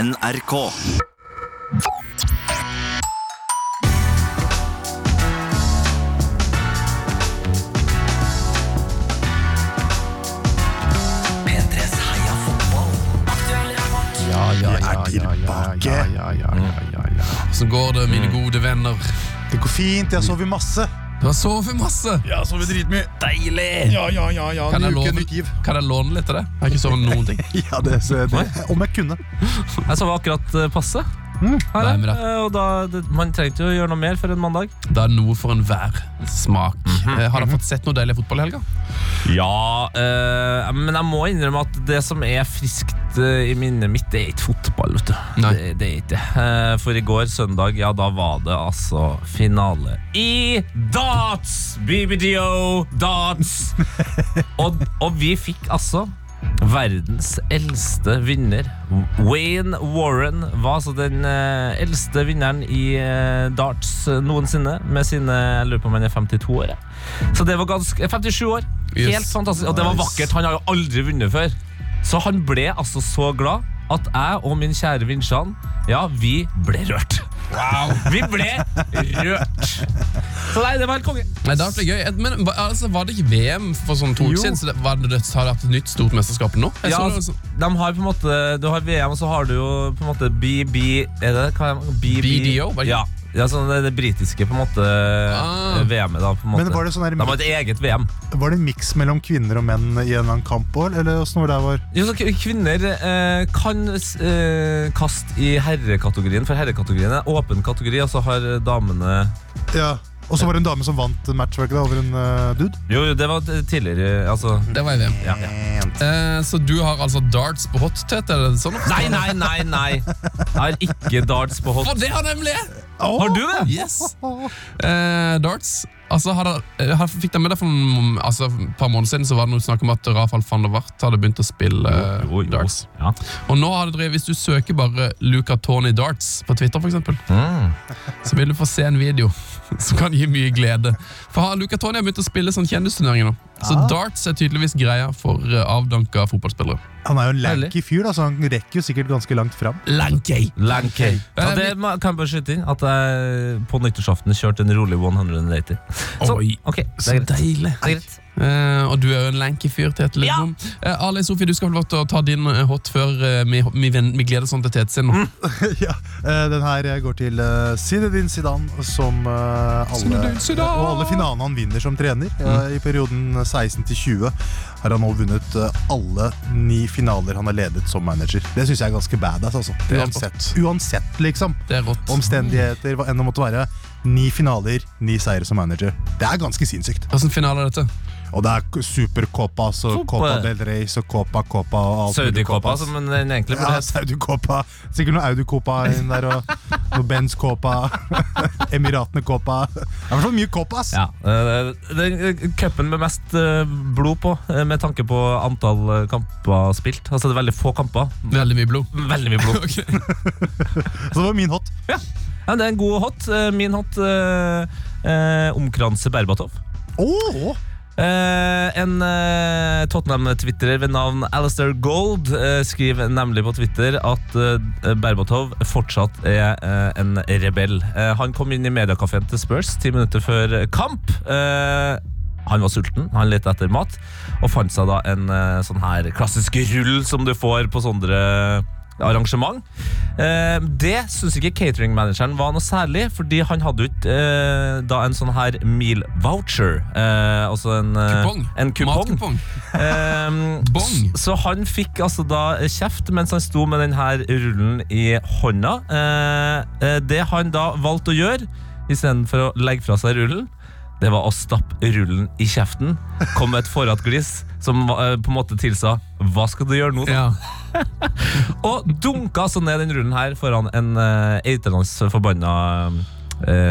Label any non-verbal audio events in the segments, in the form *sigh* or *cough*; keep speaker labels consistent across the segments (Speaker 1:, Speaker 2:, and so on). Speaker 1: NRK. P3s Heia fotball.
Speaker 2: Ja, ja, ja,
Speaker 3: er
Speaker 2: ja, ja,
Speaker 3: tilbake.
Speaker 2: ja, ja, ja, ja, ja, ja.
Speaker 4: Hvordan går det, mine gode venner?
Speaker 3: Det går fint. Jeg sover masse.
Speaker 4: Du har sovet masse!
Speaker 3: Ja, sover dritmye.
Speaker 4: Deilig!
Speaker 3: Ja, ja, ja. ja.
Speaker 4: Kan jeg,
Speaker 3: Ny uke,
Speaker 4: låne,
Speaker 3: nytt giv.
Speaker 4: kan jeg låne litt av det? Jeg har ikke sovet noen ting.
Speaker 3: *laughs* Ja, det, så det. Om jeg kunne.
Speaker 5: Jeg sov akkurat eh, passe. Her,
Speaker 4: Nei, men da-
Speaker 5: eh, og da, det, man trengte jo å gjøre noe mer for en mandag.
Speaker 4: *laughs* Det er noe for enhver smak. Eh, Har dere fått sett noe deilig fotball i helga?
Speaker 5: Ja, eh, men jeg må innrømme at det som er friskt eh, i minnet mitt, det er ikke fotball. vet du.
Speaker 4: Nei.
Speaker 5: Det, det er ikke det. Eh, for i går, søndag, ja, da var det altså finale i darts! BBDO darts! og, og vi fikk altså verdens eldste vinner. Wayne Warren var altså den eh, eldste vinneren i eh, darts eh, noensinne, med sine Jeg lurer på om han er 52 år. jeg. Så det var ganske 57 år.
Speaker 4: Yes.
Speaker 5: Helt fantastisk. Og det var
Speaker 3: Nice.
Speaker 5: vakkert. Han har jo aldri vunnet før. Så han ble altså så glad at jeg og min kjære Vinsjan, ja, vi ble rørt. Vi ble rørt. Så nei, det var helt konge.
Speaker 4: Nei, det ble gøy. Et- Men hva- altså, Var det ikke VM for sånn to uker
Speaker 3: Jo.
Speaker 4: siden? Så det, var det, har det hatt et nytt stort mesterskap nå? Jeg
Speaker 5: Ja,
Speaker 4: så det var
Speaker 5: altså,
Speaker 4: sånn-
Speaker 5: de har på en måte Du har VM, og så har du jo på en måte BB Er det hva er det? BB,
Speaker 4: BDO, var det ikke?
Speaker 5: Ja. ja sånn det, det britiske på en måte eh,
Speaker 4: Ah.
Speaker 5: VM-et, da. På en måte.
Speaker 3: Men var det sånn her-
Speaker 5: De har et eget VM.
Speaker 3: Var det en miks mellom kvinner og menn i en eller annen kamp òg, eller åssen var det her var?
Speaker 5: Jo, så k- Kvinner eh, kan eh, kaste i herrekategorien, for herrekategorien er åpen kategori, og så har damene
Speaker 3: Ja. Og så var det en dame som vant matchworket over en eh, dude.
Speaker 5: Jo, jo, det var t- tidligere, altså
Speaker 4: det var i VM.
Speaker 5: ja, ja.
Speaker 4: Eh, så du har altså darts på hot tete? Er det sånn? å forstå?
Speaker 5: Nei, nei, nei, nei! Jeg har ikke darts på
Speaker 4: For
Speaker 5: hot.
Speaker 4: det har nemlig jeg!
Speaker 3: Åh!
Speaker 5: Har du det?
Speaker 4: Yes. Eh, darts altså, har det, eh, har- Fikk dere med det for noen- altså, et par måneder siden Så var det noe snakk om at Rafael van der Wart hadde begynt å spille eh,
Speaker 5: Jo, jo.
Speaker 4: darts.
Speaker 5: Ja.
Speaker 4: Og nå har det drevet, Hvis du søker bare Luca Tony Darts på Twitter, for eksempel,
Speaker 5: Mm.
Speaker 4: så vil du få se en video *laughs* som kan gi mye glede. For har- Luca Tony har begynt å spille sånn kjendisturneringer nå. Så
Speaker 5: Ah.
Speaker 4: darts er tydeligvis greia for eh, avdanka fotballspillere.
Speaker 3: Han er jo en lanky fyr, da, så han rekker jo sikkert ganske langt fram.
Speaker 4: Lankey!
Speaker 5: Lankey. Ja,
Speaker 4: Eh,
Speaker 5: det
Speaker 4: men-
Speaker 5: ma- kan jeg bare skyte inn at jeg på nyttårsaften kjørte en rolig 180.
Speaker 4: Oi,
Speaker 5: ok, det
Speaker 4: Så
Speaker 5: er greit.
Speaker 4: deilig.
Speaker 5: Det er greit.
Speaker 4: Eh, og du er jo en lanky fyr, Tete Lidbom. Eh, Ali Sofie, du skal få lov til å ta din eh, hot før eh, vi, vi, ven- vi gleder oss sånn til Tete sin. nå.
Speaker 3: *laughs* ja, eh, den her går til uh, Zinedine Zidane, som eh, alle,
Speaker 4: Zinedine Zidane!
Speaker 3: og alle finalene han vinner som trener. eh, I perioden 16 til 20 har han nå vunnet eh, alle ni finaler han har ledet som manager. Det syns jeg er ganske badass. Altså.
Speaker 4: Det er
Speaker 3: Uansett, uansett, liksom.
Speaker 4: Det er rått.
Speaker 3: Omstendigheter, hva enn det måtte være. Ni finaler, ni seire som manager. Det er ganske sinnssykt.
Speaker 4: Hvilken finale er dette?
Speaker 3: Og det er Supercopa, så
Speaker 5: Copa.
Speaker 3: Copa del Rey, så Copa Copa og alt mulig
Speaker 5: Saudi-kåpa,
Speaker 3: Copas.
Speaker 5: som den egentlig burde
Speaker 3: Ja,
Speaker 5: hete.
Speaker 3: Saudi-kåpa. Sikkert noe Audi-kåpa inn der, og noe Benz-kåpa. *laughs* Emiratene-kåpa. Det er i hvert fall mye kåpa, ass.
Speaker 5: Ja. eh, Den eh, cupen med mest eh, blod på, eh, med tanke på antall eh, kamper spilt. Altså det er veldig få kamper.
Speaker 4: Veldig mye blod. *laughs*
Speaker 5: Veldig mye blod.
Speaker 4: Ok.
Speaker 3: Så det var min hot.
Speaker 5: Ja, men det er en god hot. Eh, Min hot eh, eh, omkranser Berbatov.
Speaker 3: Åh!
Speaker 5: Eh, en eh, Tottenham-twitterer ved navn Alistair Gold eh, skriver nemlig på Twitter at eh, Berbatov fortsatt er eh, en rebell. Eh, han kom inn i mediekafeen til Spurs ti minutter før kamp. Eh, han var sulten, han lette etter mat, og fant seg da en eh, sånn her klassisk rull som du får på sånne arrangement. Eh, det syns ikke cateringmanageren var noe særlig, fordi han hadde jo ikke eh, da en sånn her meal voucher. Eh, altså en eh,
Speaker 4: Kupong.
Speaker 5: En kupong. *laughs*
Speaker 4: Matkupong.
Speaker 5: Ehm,
Speaker 4: Bong.
Speaker 5: s- Så han fikk altså da kjeft mens han sto med den her rullen i hånda. Eh, eh, Det han da valgte å gjøre, istedenfor å legge fra seg rullen, det var å stappe rullen i kjeften. Kom med et forhattglis som eh, på en måte tilsa 'hva skal du gjøre nå', da?
Speaker 4: Ja.
Speaker 5: Og dunka altså ned den rullen her foran en uh, eitrende forbanna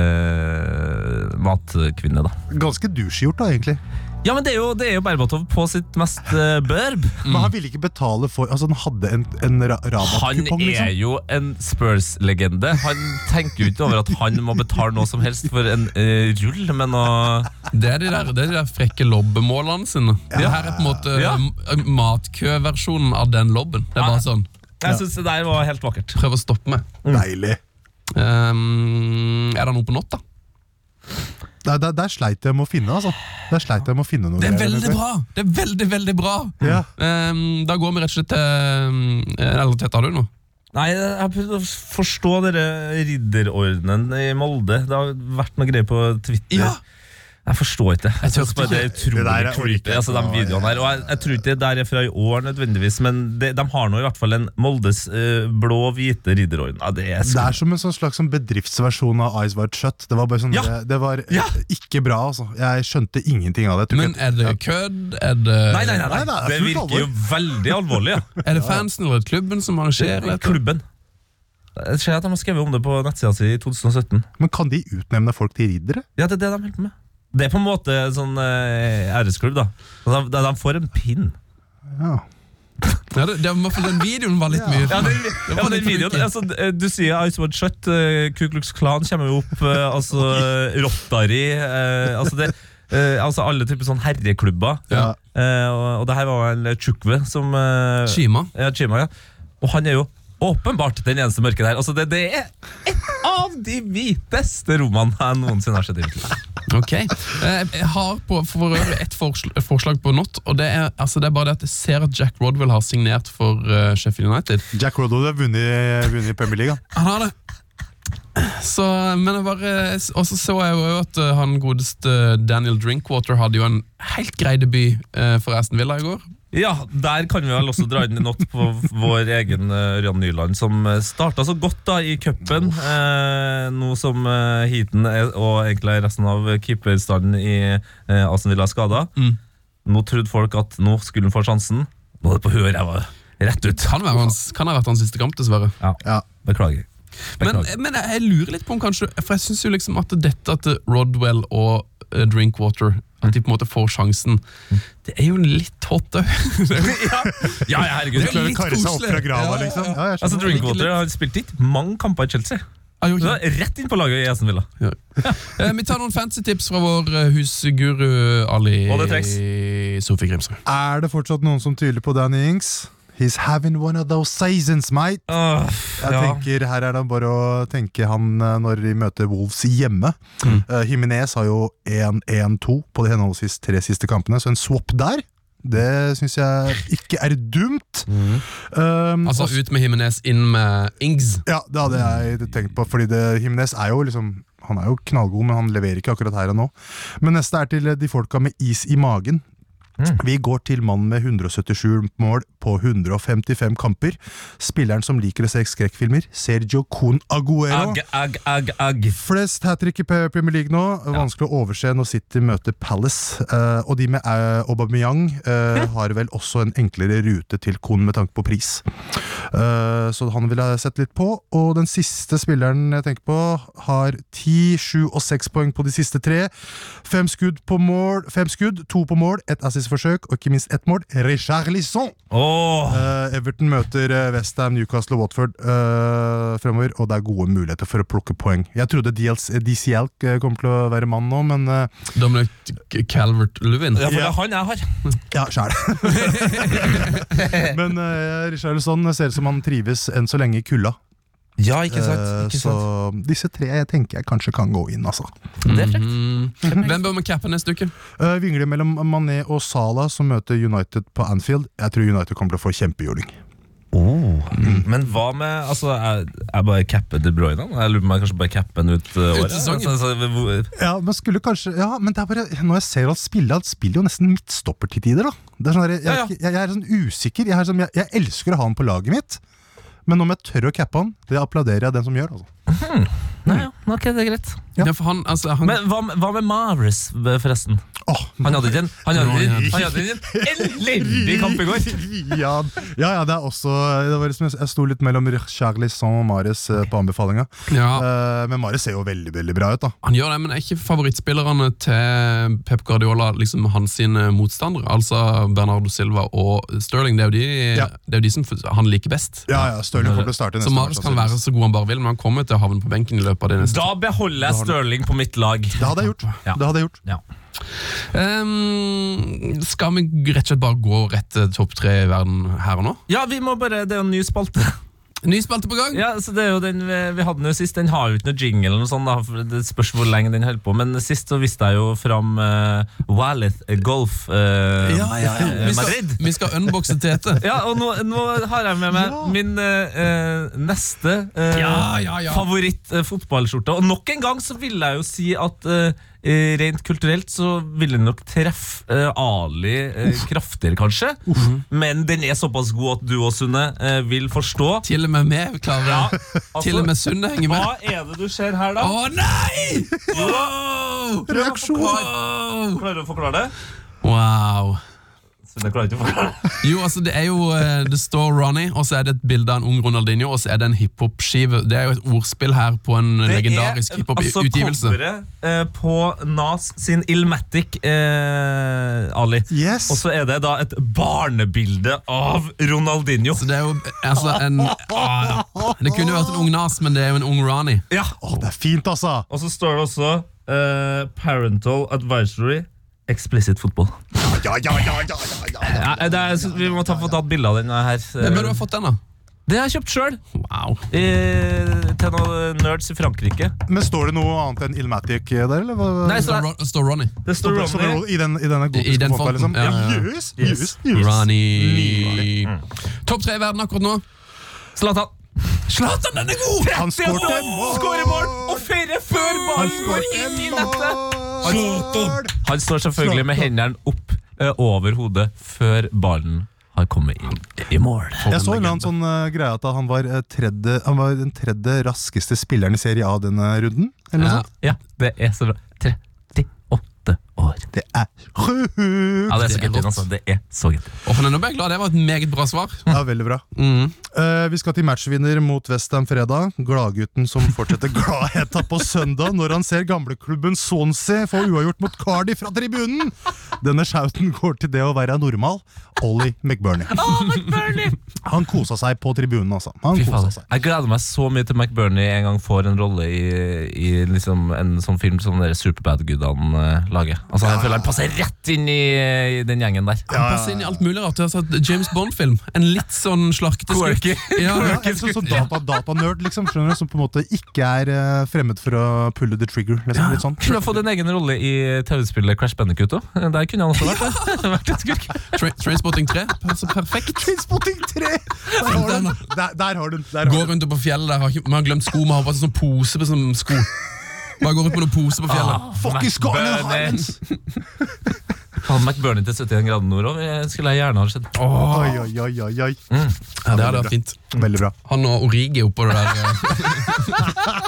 Speaker 5: eh, matkvinne, da.
Speaker 3: Ganske douchegjort, da, egentlig.
Speaker 5: Ja, men det er jo, det er jo Berbatov på sitt mest eh, børb.
Speaker 4: Mm.
Speaker 3: Men han ville ikke betale for Altså, han hadde en, en ra
Speaker 5: *laughs* Han
Speaker 3: rabattkupong,
Speaker 5: er
Speaker 3: liksom.
Speaker 5: jo en Spurs-legende. Han tenker jo ikke over at han må betale noe som helst for en eh, rull, men å
Speaker 4: Det, er de der, det er de der frekke lobbemålene sine. Det her er på en måte
Speaker 5: Ja. Ah,
Speaker 4: eh, m- matkøversjonen av den lobben. Det er bare sånn
Speaker 5: Jeg syns det der var helt vakkert.
Speaker 4: Prøv å stoppe meg.
Speaker 3: Mm. Deilig.
Speaker 4: Ehm, er det noe på nått, da?
Speaker 3: Der, der, der sleit jeg med å finne, altså. Der sleit jeg med å finne noe.
Speaker 4: Det er
Speaker 3: greier,
Speaker 4: veldig
Speaker 3: vet du.
Speaker 4: bra! Det er veldig, veldig bra
Speaker 3: Ja.
Speaker 4: Ehm, Da går vi rett og slett til um, Eller Tete, har du noe?
Speaker 5: Nei, jeg prøvde å forstå dere ridderordenen i Molde. Det har vært noe greier på Twitter.
Speaker 4: Ja.
Speaker 5: Jeg forstår ikke det. Jeg
Speaker 4: tør
Speaker 5: synes bare
Speaker 4: ikke.
Speaker 5: det er utrolig
Speaker 3: Det der er
Speaker 5: creepy,
Speaker 3: creepy.
Speaker 5: altså de videoene her. Og jeg, jeg tror ikke det der er fra i år nødvendigvis, men det, de har nå i hvert fall en Moldes eh, blå-hvite ridderorden. Ja, det er
Speaker 3: Det
Speaker 5: skummelt.
Speaker 3: er som en sånn slags sånn bedriftsversjon av Eyes Wide Shut. Det var bare sånn,
Speaker 5: Ja!
Speaker 3: det, det var eh,
Speaker 5: Ja!
Speaker 3: ikke bra, altså. Jeg skjønte ingenting av det. Jeg tror
Speaker 4: Men
Speaker 3: ikke-
Speaker 4: er det kødd? Er det,
Speaker 5: Nei, nei, nei, nei,
Speaker 3: Nei, nei,
Speaker 5: det
Speaker 3: fullt
Speaker 5: virker jo veldig alvorlig, ja.
Speaker 4: er det fansen eller klubben som arrangerer
Speaker 5: *laughs* Det er
Speaker 4: dette?
Speaker 5: Klubben. Jeg ser at de har skrevet om det på nettsida si i 2017.
Speaker 3: Men kan de utnevne folk til riddere?
Speaker 5: Ja, det er det de holder på med. Det er på en måte sånn eh, æresklubb, da. De, de de får en pinn.
Speaker 3: Ja.
Speaker 4: Ja, det, det, var- den videoen var litt mye.
Speaker 5: Ja,
Speaker 4: for
Speaker 5: den,
Speaker 4: meg. *laughs* Det var
Speaker 5: ja, den
Speaker 4: litt for
Speaker 5: videoen
Speaker 4: mye.
Speaker 5: altså, eh, Du sier Ice Wide Shut, eh, Ku Klux Klan kommer jo opp,
Speaker 4: *laughs*
Speaker 5: eh, altså eh, Rotary eh, altså, det, eh, altså alle typer sånn herreklubber.
Speaker 4: Ja.
Speaker 5: Eh, og, og det her var vel Chukwe som eh,
Speaker 4: Shima.
Speaker 5: Ja, Chima, ja. Og han er jo åpenbart den eneste mørke der. Altså, det, det er et av de hviteste rommene jeg noensinne har sett. i mitt liv.
Speaker 4: Ok. Eh, Jeg har på, for øvrig et forsl- forslag på not, og det er, altså, det er bare det at jeg ser at Jack Rodwell har signert for eh, Sheffield United.
Speaker 3: Jack Rodwell har vunnet, vunnet i Premier League. han.
Speaker 4: Han har det. Så, men jeg bare, og så så jeg jo at eh, han godeste Daniel Drinkwater hadde jo en helt grei debut eh, for Aston Villa i går.
Speaker 5: Ja, Der kan vi vel også dra inn en not på vår egen eh, Ørjan Nyland, som starta så godt da i cupen. Eh, nå som eh, heaten er, og egentlig resten av keeperstanden i eh, Aston Villa er skada.
Speaker 4: Mm.
Speaker 5: Nå trodde folk at nå skulle han få sjansen. Nå er det på huet og ræva. Rett ut.
Speaker 4: Kan, være hans, kan ha vært hans siste kamp, dessverre.
Speaker 3: Ja.
Speaker 5: Beklager.
Speaker 4: Men,
Speaker 5: Beklager.
Speaker 4: men jeg, jeg lurer litt på om kanskje For jeg syns jo liksom at dette at Rodwell og eh, Drinkwater At de på en måte får sjansen. Det er jo litt hot òg.
Speaker 5: eh, *laughs* ja, ja, herregud.
Speaker 4: Det er
Speaker 3: Klarer å
Speaker 4: litt
Speaker 3: karre seg opp
Speaker 4: koselig.
Speaker 3: fra grava,
Speaker 4: Ja, ja, ja.
Speaker 3: liksom. Ja, jeg
Speaker 5: Altså,
Speaker 3: skjønner.
Speaker 5: Drinkwater han spilte ikke mange kamper i Chelsea. Så det er rett inn på laget i Aston Villa.
Speaker 4: Eh, Vi tar noen fancy tips fra vår eh, husguru Ali
Speaker 5: Og det trengs.
Speaker 4: Sofie Grimsrud.
Speaker 3: Er det fortsatt noen som tviler på Danny Ings? He's having one of those seasons, mate.
Speaker 5: Åh,
Speaker 3: Jeg
Speaker 5: ja.
Speaker 3: tenker Her er det bare å tenke han eh, når de møter Wolves hjemme.
Speaker 4: Mm.
Speaker 3: Eh, Jimenez har jo 1-1-2 på de henholdsvis tre siste kampene, så en swap der det syns jeg ikke er dumt. Um,
Speaker 5: Mm.
Speaker 4: Altså
Speaker 3: og-
Speaker 4: ut med Himinez, inn med Ings.
Speaker 3: ja, det hadde jeg tenkt på, fordi det, Jimenez er jo liksom han er jo knallgod, men han leverer ikke akkurat her og nå. Men neste er til eh, de folka med is i magen. Vi går til mannen med 177 mål på 155 kamper. Spilleren som liker å se skrekkfilmer, Sergio Con Aguero.
Speaker 5: Agg, agg, agg, agg.
Speaker 3: Flest hat trick i P- Premier League nå. Vanskelig å overse når City møter Palace. Eh, og de med eh, Aubameyang eh, har vel også en enklere rute til Kohn med tanke på pris. Eh, så han ville jeg sett litt på. Og den siste spilleren jeg tenker på, har 10, 7 og 6 poeng på de siste tre. Fem skudd på mål, fem skudd, to på mål, ett assist-forsøk og ikke minst ett mål. Richard Lisson!
Speaker 5: Åh.
Speaker 3: Eh, Everton møter eh, West Ham, Newcastle og Watford eh, fremover, og det er gode muligheter for å plukke poeng. Jeg trodde DLC, DCL eh, kom til å være mann nå, men eh,
Speaker 4: Dominic Calvert Lewin.
Speaker 5: Ja, for det
Speaker 3: Ja.
Speaker 5: er han jeg har.
Speaker 3: ja,
Speaker 5: *laughs*
Speaker 3: sjæl. men uh, Richarlison ser ut som han trives enn så lenge i kulda.
Speaker 5: Ja, ikke
Speaker 3: Eh, så disse tre jeg tenker jeg kanskje kan gå inn, altså.
Speaker 5: Det er frekt.
Speaker 4: Mhm. Hvem bør vi cappe neste uke?
Speaker 3: Uh, Vingler mellom Mané og Salah, som møter United på Anfield. Jeg tror United kommer til å få kjempejuling.
Speaker 5: Oh. Mm. Men hva med Altså, jeg, jeg bare capper De Bruyne. da. Jeg lurer på om jeg kanskje bare capper han ut uh, året.
Speaker 4: sesongen.
Speaker 5: Altså, altså, hvor-
Speaker 3: Ja, men skulle kanskje Ja, men det er bare Når jeg ser han spille Han spiller jo nesten midtstopper til tider da Det er sånn der jeg,
Speaker 5: Ja, ja.
Speaker 3: jeg, jeg, er sånn usikker jeg, er sånn, jeg, jeg elsker å ha han på laget mitt Men om jeg tør å cappe han Det applauderer jeg den som gjør altså.
Speaker 5: Nei, ja. Ok, det er greit.
Speaker 4: Ja. for han, altså, han,
Speaker 5: Men hva, med- hva med Maris, forresten?
Speaker 3: Åh,
Speaker 5: Han hadde ikke en Han hadde
Speaker 4: Nå,
Speaker 5: ikke
Speaker 4: ja.
Speaker 5: en- han hadde ikke en elendig kamp i går.
Speaker 3: Rian. *laughs* Ja, ja, det er også det var liksom, Jeg sto litt mellom Charlison og Mares eh, På anbefalinga
Speaker 4: ja,
Speaker 3: Eh, Men Mares ser jo veldig, veldig bra ut da
Speaker 4: han gjør det, men er ikke favorittspillerne til Pep Guardiola liksom hans sine motstandere? Altså Bernardo Silva og Sterling. Det er jo de,
Speaker 3: Ja.
Speaker 4: det er jo de som f- han liker best.
Speaker 3: Ja, ja, Stirling kommer til å starte neste
Speaker 4: Så Marius
Speaker 3: match,
Speaker 4: kan
Speaker 3: altså.
Speaker 4: være så god han bare vil, men han kommer til å havne på benken i løpet av det neste.
Speaker 5: Da beholder jeg Stirling på mitt lag.
Speaker 3: Det hadde jeg gjort
Speaker 5: Ja.
Speaker 3: Det hadde jeg gjort
Speaker 5: Ja.
Speaker 4: Ehm, skal vi rett og slett bare gå rett til topp tre i verden her og nå?
Speaker 5: Ja, vi må bare, det er jo en ny spalte.
Speaker 4: Ny spalte på gang!
Speaker 5: Ja, så det er jo den vi, vi hadde den jo sist. Den har jo ikke noe jingle eller noe sånt. Da. for Det spørs hvor lenge den holder på. Men sist så viste jeg jo fram uh, Wallet Golf eh, eh,
Speaker 4: *laughs* Vi skal,
Speaker 5: Madrid.
Speaker 4: vi skal unboxe Tete.
Speaker 5: Ja, og nå, nå har jeg med meg min eh, eh, neste eh,
Speaker 4: Ja, ja, ja.
Speaker 5: favoritt eh, fotballskjorte. Og nok en gang så vil jeg jo si at eh, eh, rent kulturelt så vil den nok treffe eh, Ali eh, kraftigere, kanskje. Men den er såpass god at du og Sunne eh, vil forstå.
Speaker 4: Til og med meg klarer det.
Speaker 5: *laughs* altså-
Speaker 4: Til og med Sunne henger med.
Speaker 5: Hva er det du ser her, da?
Speaker 4: Å nei! Wow!
Speaker 3: Reaksjon!
Speaker 4: Wow!
Speaker 5: Klarer du å forklare det?
Speaker 4: wow.
Speaker 5: Sunne klarer ikke å forklare det.
Speaker 4: Jo, altså Det er jo, eh, det står Ronny, og så er det et bilde av en ung Ronaldinho, og så er det en hiphop-skive. Det er jo et ordspill her på en
Speaker 5: altså
Speaker 4: legendarisk hiphop-utgivelse.
Speaker 5: Det er altså coveret eh, på Nas sin Ilmatic, eh, Ali.
Speaker 3: Yes!
Speaker 5: Og så er det da et barnebilde av Ronaldinho.
Speaker 4: Så det er jo altså
Speaker 5: *laughs*
Speaker 4: en ah, Det kunne jo vært en ung Nas, men det er jo en ung Ronny.
Speaker 5: Ja.
Speaker 3: Å, det er fint, altså!
Speaker 5: Og så står det også eh, Parental Advisory Explicit Football.
Speaker 3: Ja, ja, ja, ja, ja, ja.
Speaker 5: Ja, det er, så vi må ta, få tatt bilde av den her.
Speaker 4: Eh, Men burde du ha fått den, da?
Speaker 5: Det har jeg kjøpt sjøl!
Speaker 4: Wow.
Speaker 5: Til noen nerds i Frankrike.
Speaker 3: Men står det noe annet enn Ilmatic der, eller? Hva-
Speaker 5: Nei, så
Speaker 4: Står
Speaker 5: det,
Speaker 4: Ro- står Ronny.
Speaker 5: det står
Speaker 3: Som- som
Speaker 5: Ronny.
Speaker 3: I, den, I denne gotiske
Speaker 4: I den
Speaker 3: fonten, liksom?
Speaker 4: fonten, ja, ja, ja.
Speaker 3: Yes, yes, yes.
Speaker 4: Ronny. Topp tre i verden akkurat nå.
Speaker 5: Mm. Zlatan.
Speaker 4: Zlatan, den er god!
Speaker 3: Han skårte mål!
Speaker 5: Skårer mål og feirer før
Speaker 3: Han
Speaker 5: ballen går
Speaker 3: skårte
Speaker 5: inn i nettet!
Speaker 3: mål!
Speaker 5: Han står selvfølgelig med hendene opp eh, over hodet før ballen har kommet inn i mål.
Speaker 3: Jeg så en eller annen sånn eh, greie at han var, eh, tredje, han var den tredje raskeste spilleren i Serie A denne runden. Eller noe
Speaker 4: Ja.
Speaker 3: sånt.
Speaker 5: Ja, det er så bra. 38 år.
Speaker 3: Det er sjukt!
Speaker 5: Ja, det er
Speaker 4: Det
Speaker 5: så
Speaker 4: er
Speaker 5: gøy.
Speaker 4: rått.
Speaker 5: Altså. Det er så gøy.
Speaker 4: Og for den er jeg glad. Det var et meget bra svar.
Speaker 3: Ja, veldig bra.
Speaker 4: Mm.
Speaker 3: Eh, vi skal til matchvinner mot Westham fredag. Gladgutten som fortsetter *laughs* gladheta på søndag når han ser gamleklubben Swansea få uavgjort mot Cardiff fra tribunen! Denne shouten går til det å være normal. Ollie McBurney. Han kosa seg på tribunen, altså. Han
Speaker 5: Fy
Speaker 3: kosa
Speaker 5: faen.
Speaker 3: seg.
Speaker 5: Jeg gleder meg så mye til McBurney en gang får en rolle i, i liksom en sånn film som dere Superbad-gudene eh, lager. Altså, jeg føler han passer rett inn i, i den gjengen der.
Speaker 4: Han passer inn i alt mulig rart. Jeg har sett James Bond-film. En litt sånn slarkete skurk.
Speaker 5: Quirky.
Speaker 4: Ja,
Speaker 3: Ja,
Speaker 4: ja.
Speaker 3: en sånn sånn data, datanerd, liksom, skjønner du, som på en måte ikke er eh, fremmed for å pulle the trigger. Liksom, litt sånn.
Speaker 5: Skulle ha fått en egen rolle i TV-spillet Crash Bandicoot òg. Der kunne han også vært, det. *laughs* vært en skurk.
Speaker 4: Tra Trainspotting 3. Altså, perfekt.
Speaker 3: Trainspotting 3! Der har du den! Der, der har du den. Der
Speaker 4: Går
Speaker 3: har du den.
Speaker 4: rundt oppe på fjellet der. Har ikke, man har glemt sko, man har bare sånn pose på sånn sko. Bare går rundt med noen pose på fjellet.
Speaker 5: Ah.
Speaker 3: Fucking Scarlett
Speaker 5: McBurney.
Speaker 3: Harmons!
Speaker 5: *laughs* Faen, McBurney til 71 grader nord òg skulle jeg gjerne ha sett.
Speaker 3: Oi, oi, oi, oi, oi.
Speaker 4: Ja, det hadde vært fint.
Speaker 3: Veldig bra.
Speaker 4: Han og Origi oppå det der
Speaker 5: *laughs*
Speaker 4: eh,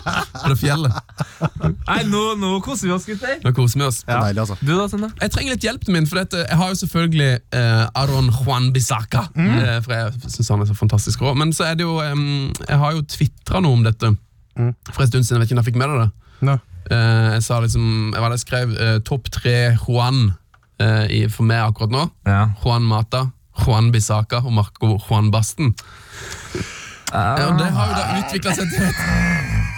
Speaker 4: På det fjellet.
Speaker 5: Nei, nå, nå koser vi oss, gutter.
Speaker 4: Nå koser vi oss.
Speaker 3: Det er Deilig, altså.
Speaker 5: Du da, Sunne?
Speaker 4: Jeg trenger litt hjelpen min, for dette, jeg har jo selvfølgelig eh, Aron Juan Bisaka. eh, for jeg synes han er så fantastisk rå. Men så er det jo em, Jeg har jo tvitra noe om dette for en stund siden. Jeg vet ikke om jeg fikk med deg det.
Speaker 3: Nå.
Speaker 4: Eh, jeg sa liksom, jeg, var der, jeg skrev eh, topp tre Juan eh, i, for meg akkurat nå.
Speaker 5: Ja.
Speaker 4: Juan Mata, Juan Bisaka og Marco Juan Basten. Eh, og det har jo da utvikla seg til et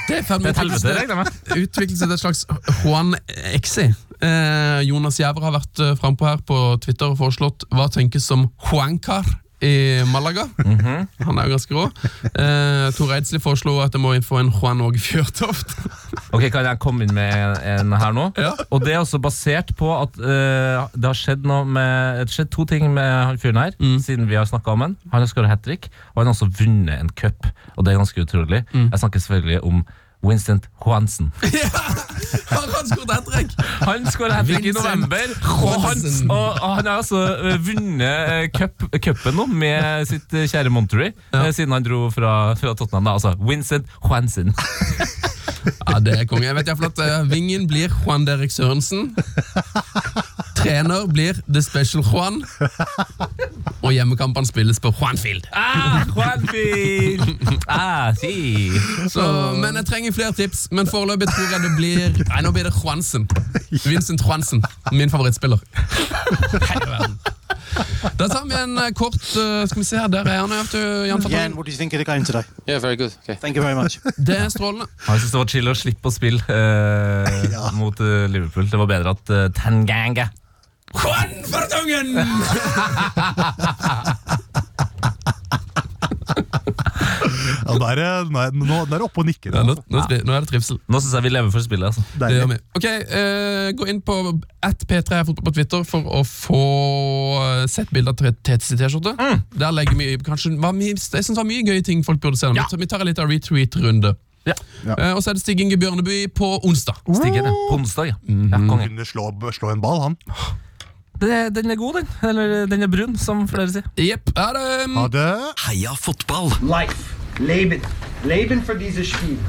Speaker 4: Det er i ferd med
Speaker 5: Et
Speaker 4: å utvikle
Speaker 5: helvete,
Speaker 4: seg-
Speaker 5: regner jeg med.
Speaker 4: utviklet seg til et slags Juan Exi. Eh, Jonas Jæver har vært eh, frampå her på Twitter og foreslått hva tenkes som Juancar i Malaga. Han er jo ganske rå. Eh, Tor Eidsli foreslo at jeg må få en Juan Åge Fjørtoft. *laughs*
Speaker 5: Ok, Kan jeg komme inn med en her nå?
Speaker 4: Ja.
Speaker 5: Og Det er også basert på at eh, det har skjedd, noe med, det har skjedd to ting med han fyren her. Siden vi har snakka om han Han har skåra hat trick, og han har også vunnet en cup. Og det er ganske utrolig. Jeg snakker selvfølgelig om Winston Johansen.
Speaker 4: Har han skåret hat trick?
Speaker 5: *laughs* Han skåra hat trick i
Speaker 4: Vincent
Speaker 5: november, og han,
Speaker 4: Johansen.
Speaker 5: og han har altså eh, vunnet eh, cup- cupen nå med sitt eh, kjære Monterey, eh, siden han dro fra, fra Tottenham. Da. Altså Winston Johansen.
Speaker 4: Ja, det er konge. Jeg vet iallfall at eh, vingen blir Juan Derek Sørensen. Trener blir The Special Juan. Og hjemmekampene spilles på Juanfield.
Speaker 5: Ah, Juanfin! *laughs* Ah, si.
Speaker 4: Så, men jeg trenger flere tips. Men foreløpig tror jeg det blir Nei, nå blir det Juansen. Vincent Juansen. Min favorittspiller. Hei, verden. Da tar vi en eh, kort eh, Skal vi se her, der er han. ja, vet du, Jan
Speaker 6: Yeah,
Speaker 4: Fatalen.
Speaker 6: and what do you think of the game today?
Speaker 7: Yeah, very good. Okay.
Speaker 6: Thank you very much.
Speaker 4: Det er strålende.
Speaker 5: Jeg synes det var chill å slippe å spille eh, mot eh, Liverpool. Det var bedre at uh, Tanganga
Speaker 4: Konfertangen!
Speaker 3: Ja, nå er det nå er- nå er det oppe og nikker.
Speaker 4: Ja, nå,
Speaker 3: Altså.
Speaker 4: nå, tri- nå er det trivsel.
Speaker 5: Nå syns jeg vi lever for spillet. altså
Speaker 4: Det gjør
Speaker 3: Deilig.
Speaker 4: vi. Ok, eh, Gå inn på at P3 fotball på Twitter for å få eh, sett bilder av Tete T-skjorte. Der legger vi kanskje var mye, Jeg synes det var mye gøye ting folk burde se. om. Så vi tar en liten retweet-runde. Eh, og så er det Stig Inge Bjørneby på onsdag.
Speaker 5: Stigen, ja. På onsdag, ja. ja konge.
Speaker 3: Kunne slå, slå en ball, han.
Speaker 5: Det- Den er god, den. Eller den er brun, som flere sier.
Speaker 4: Jepp. Ja, det,
Speaker 3: Ha det.
Speaker 1: Heia fotball!
Speaker 8: Life. Leben. Leben für dieses Spiel.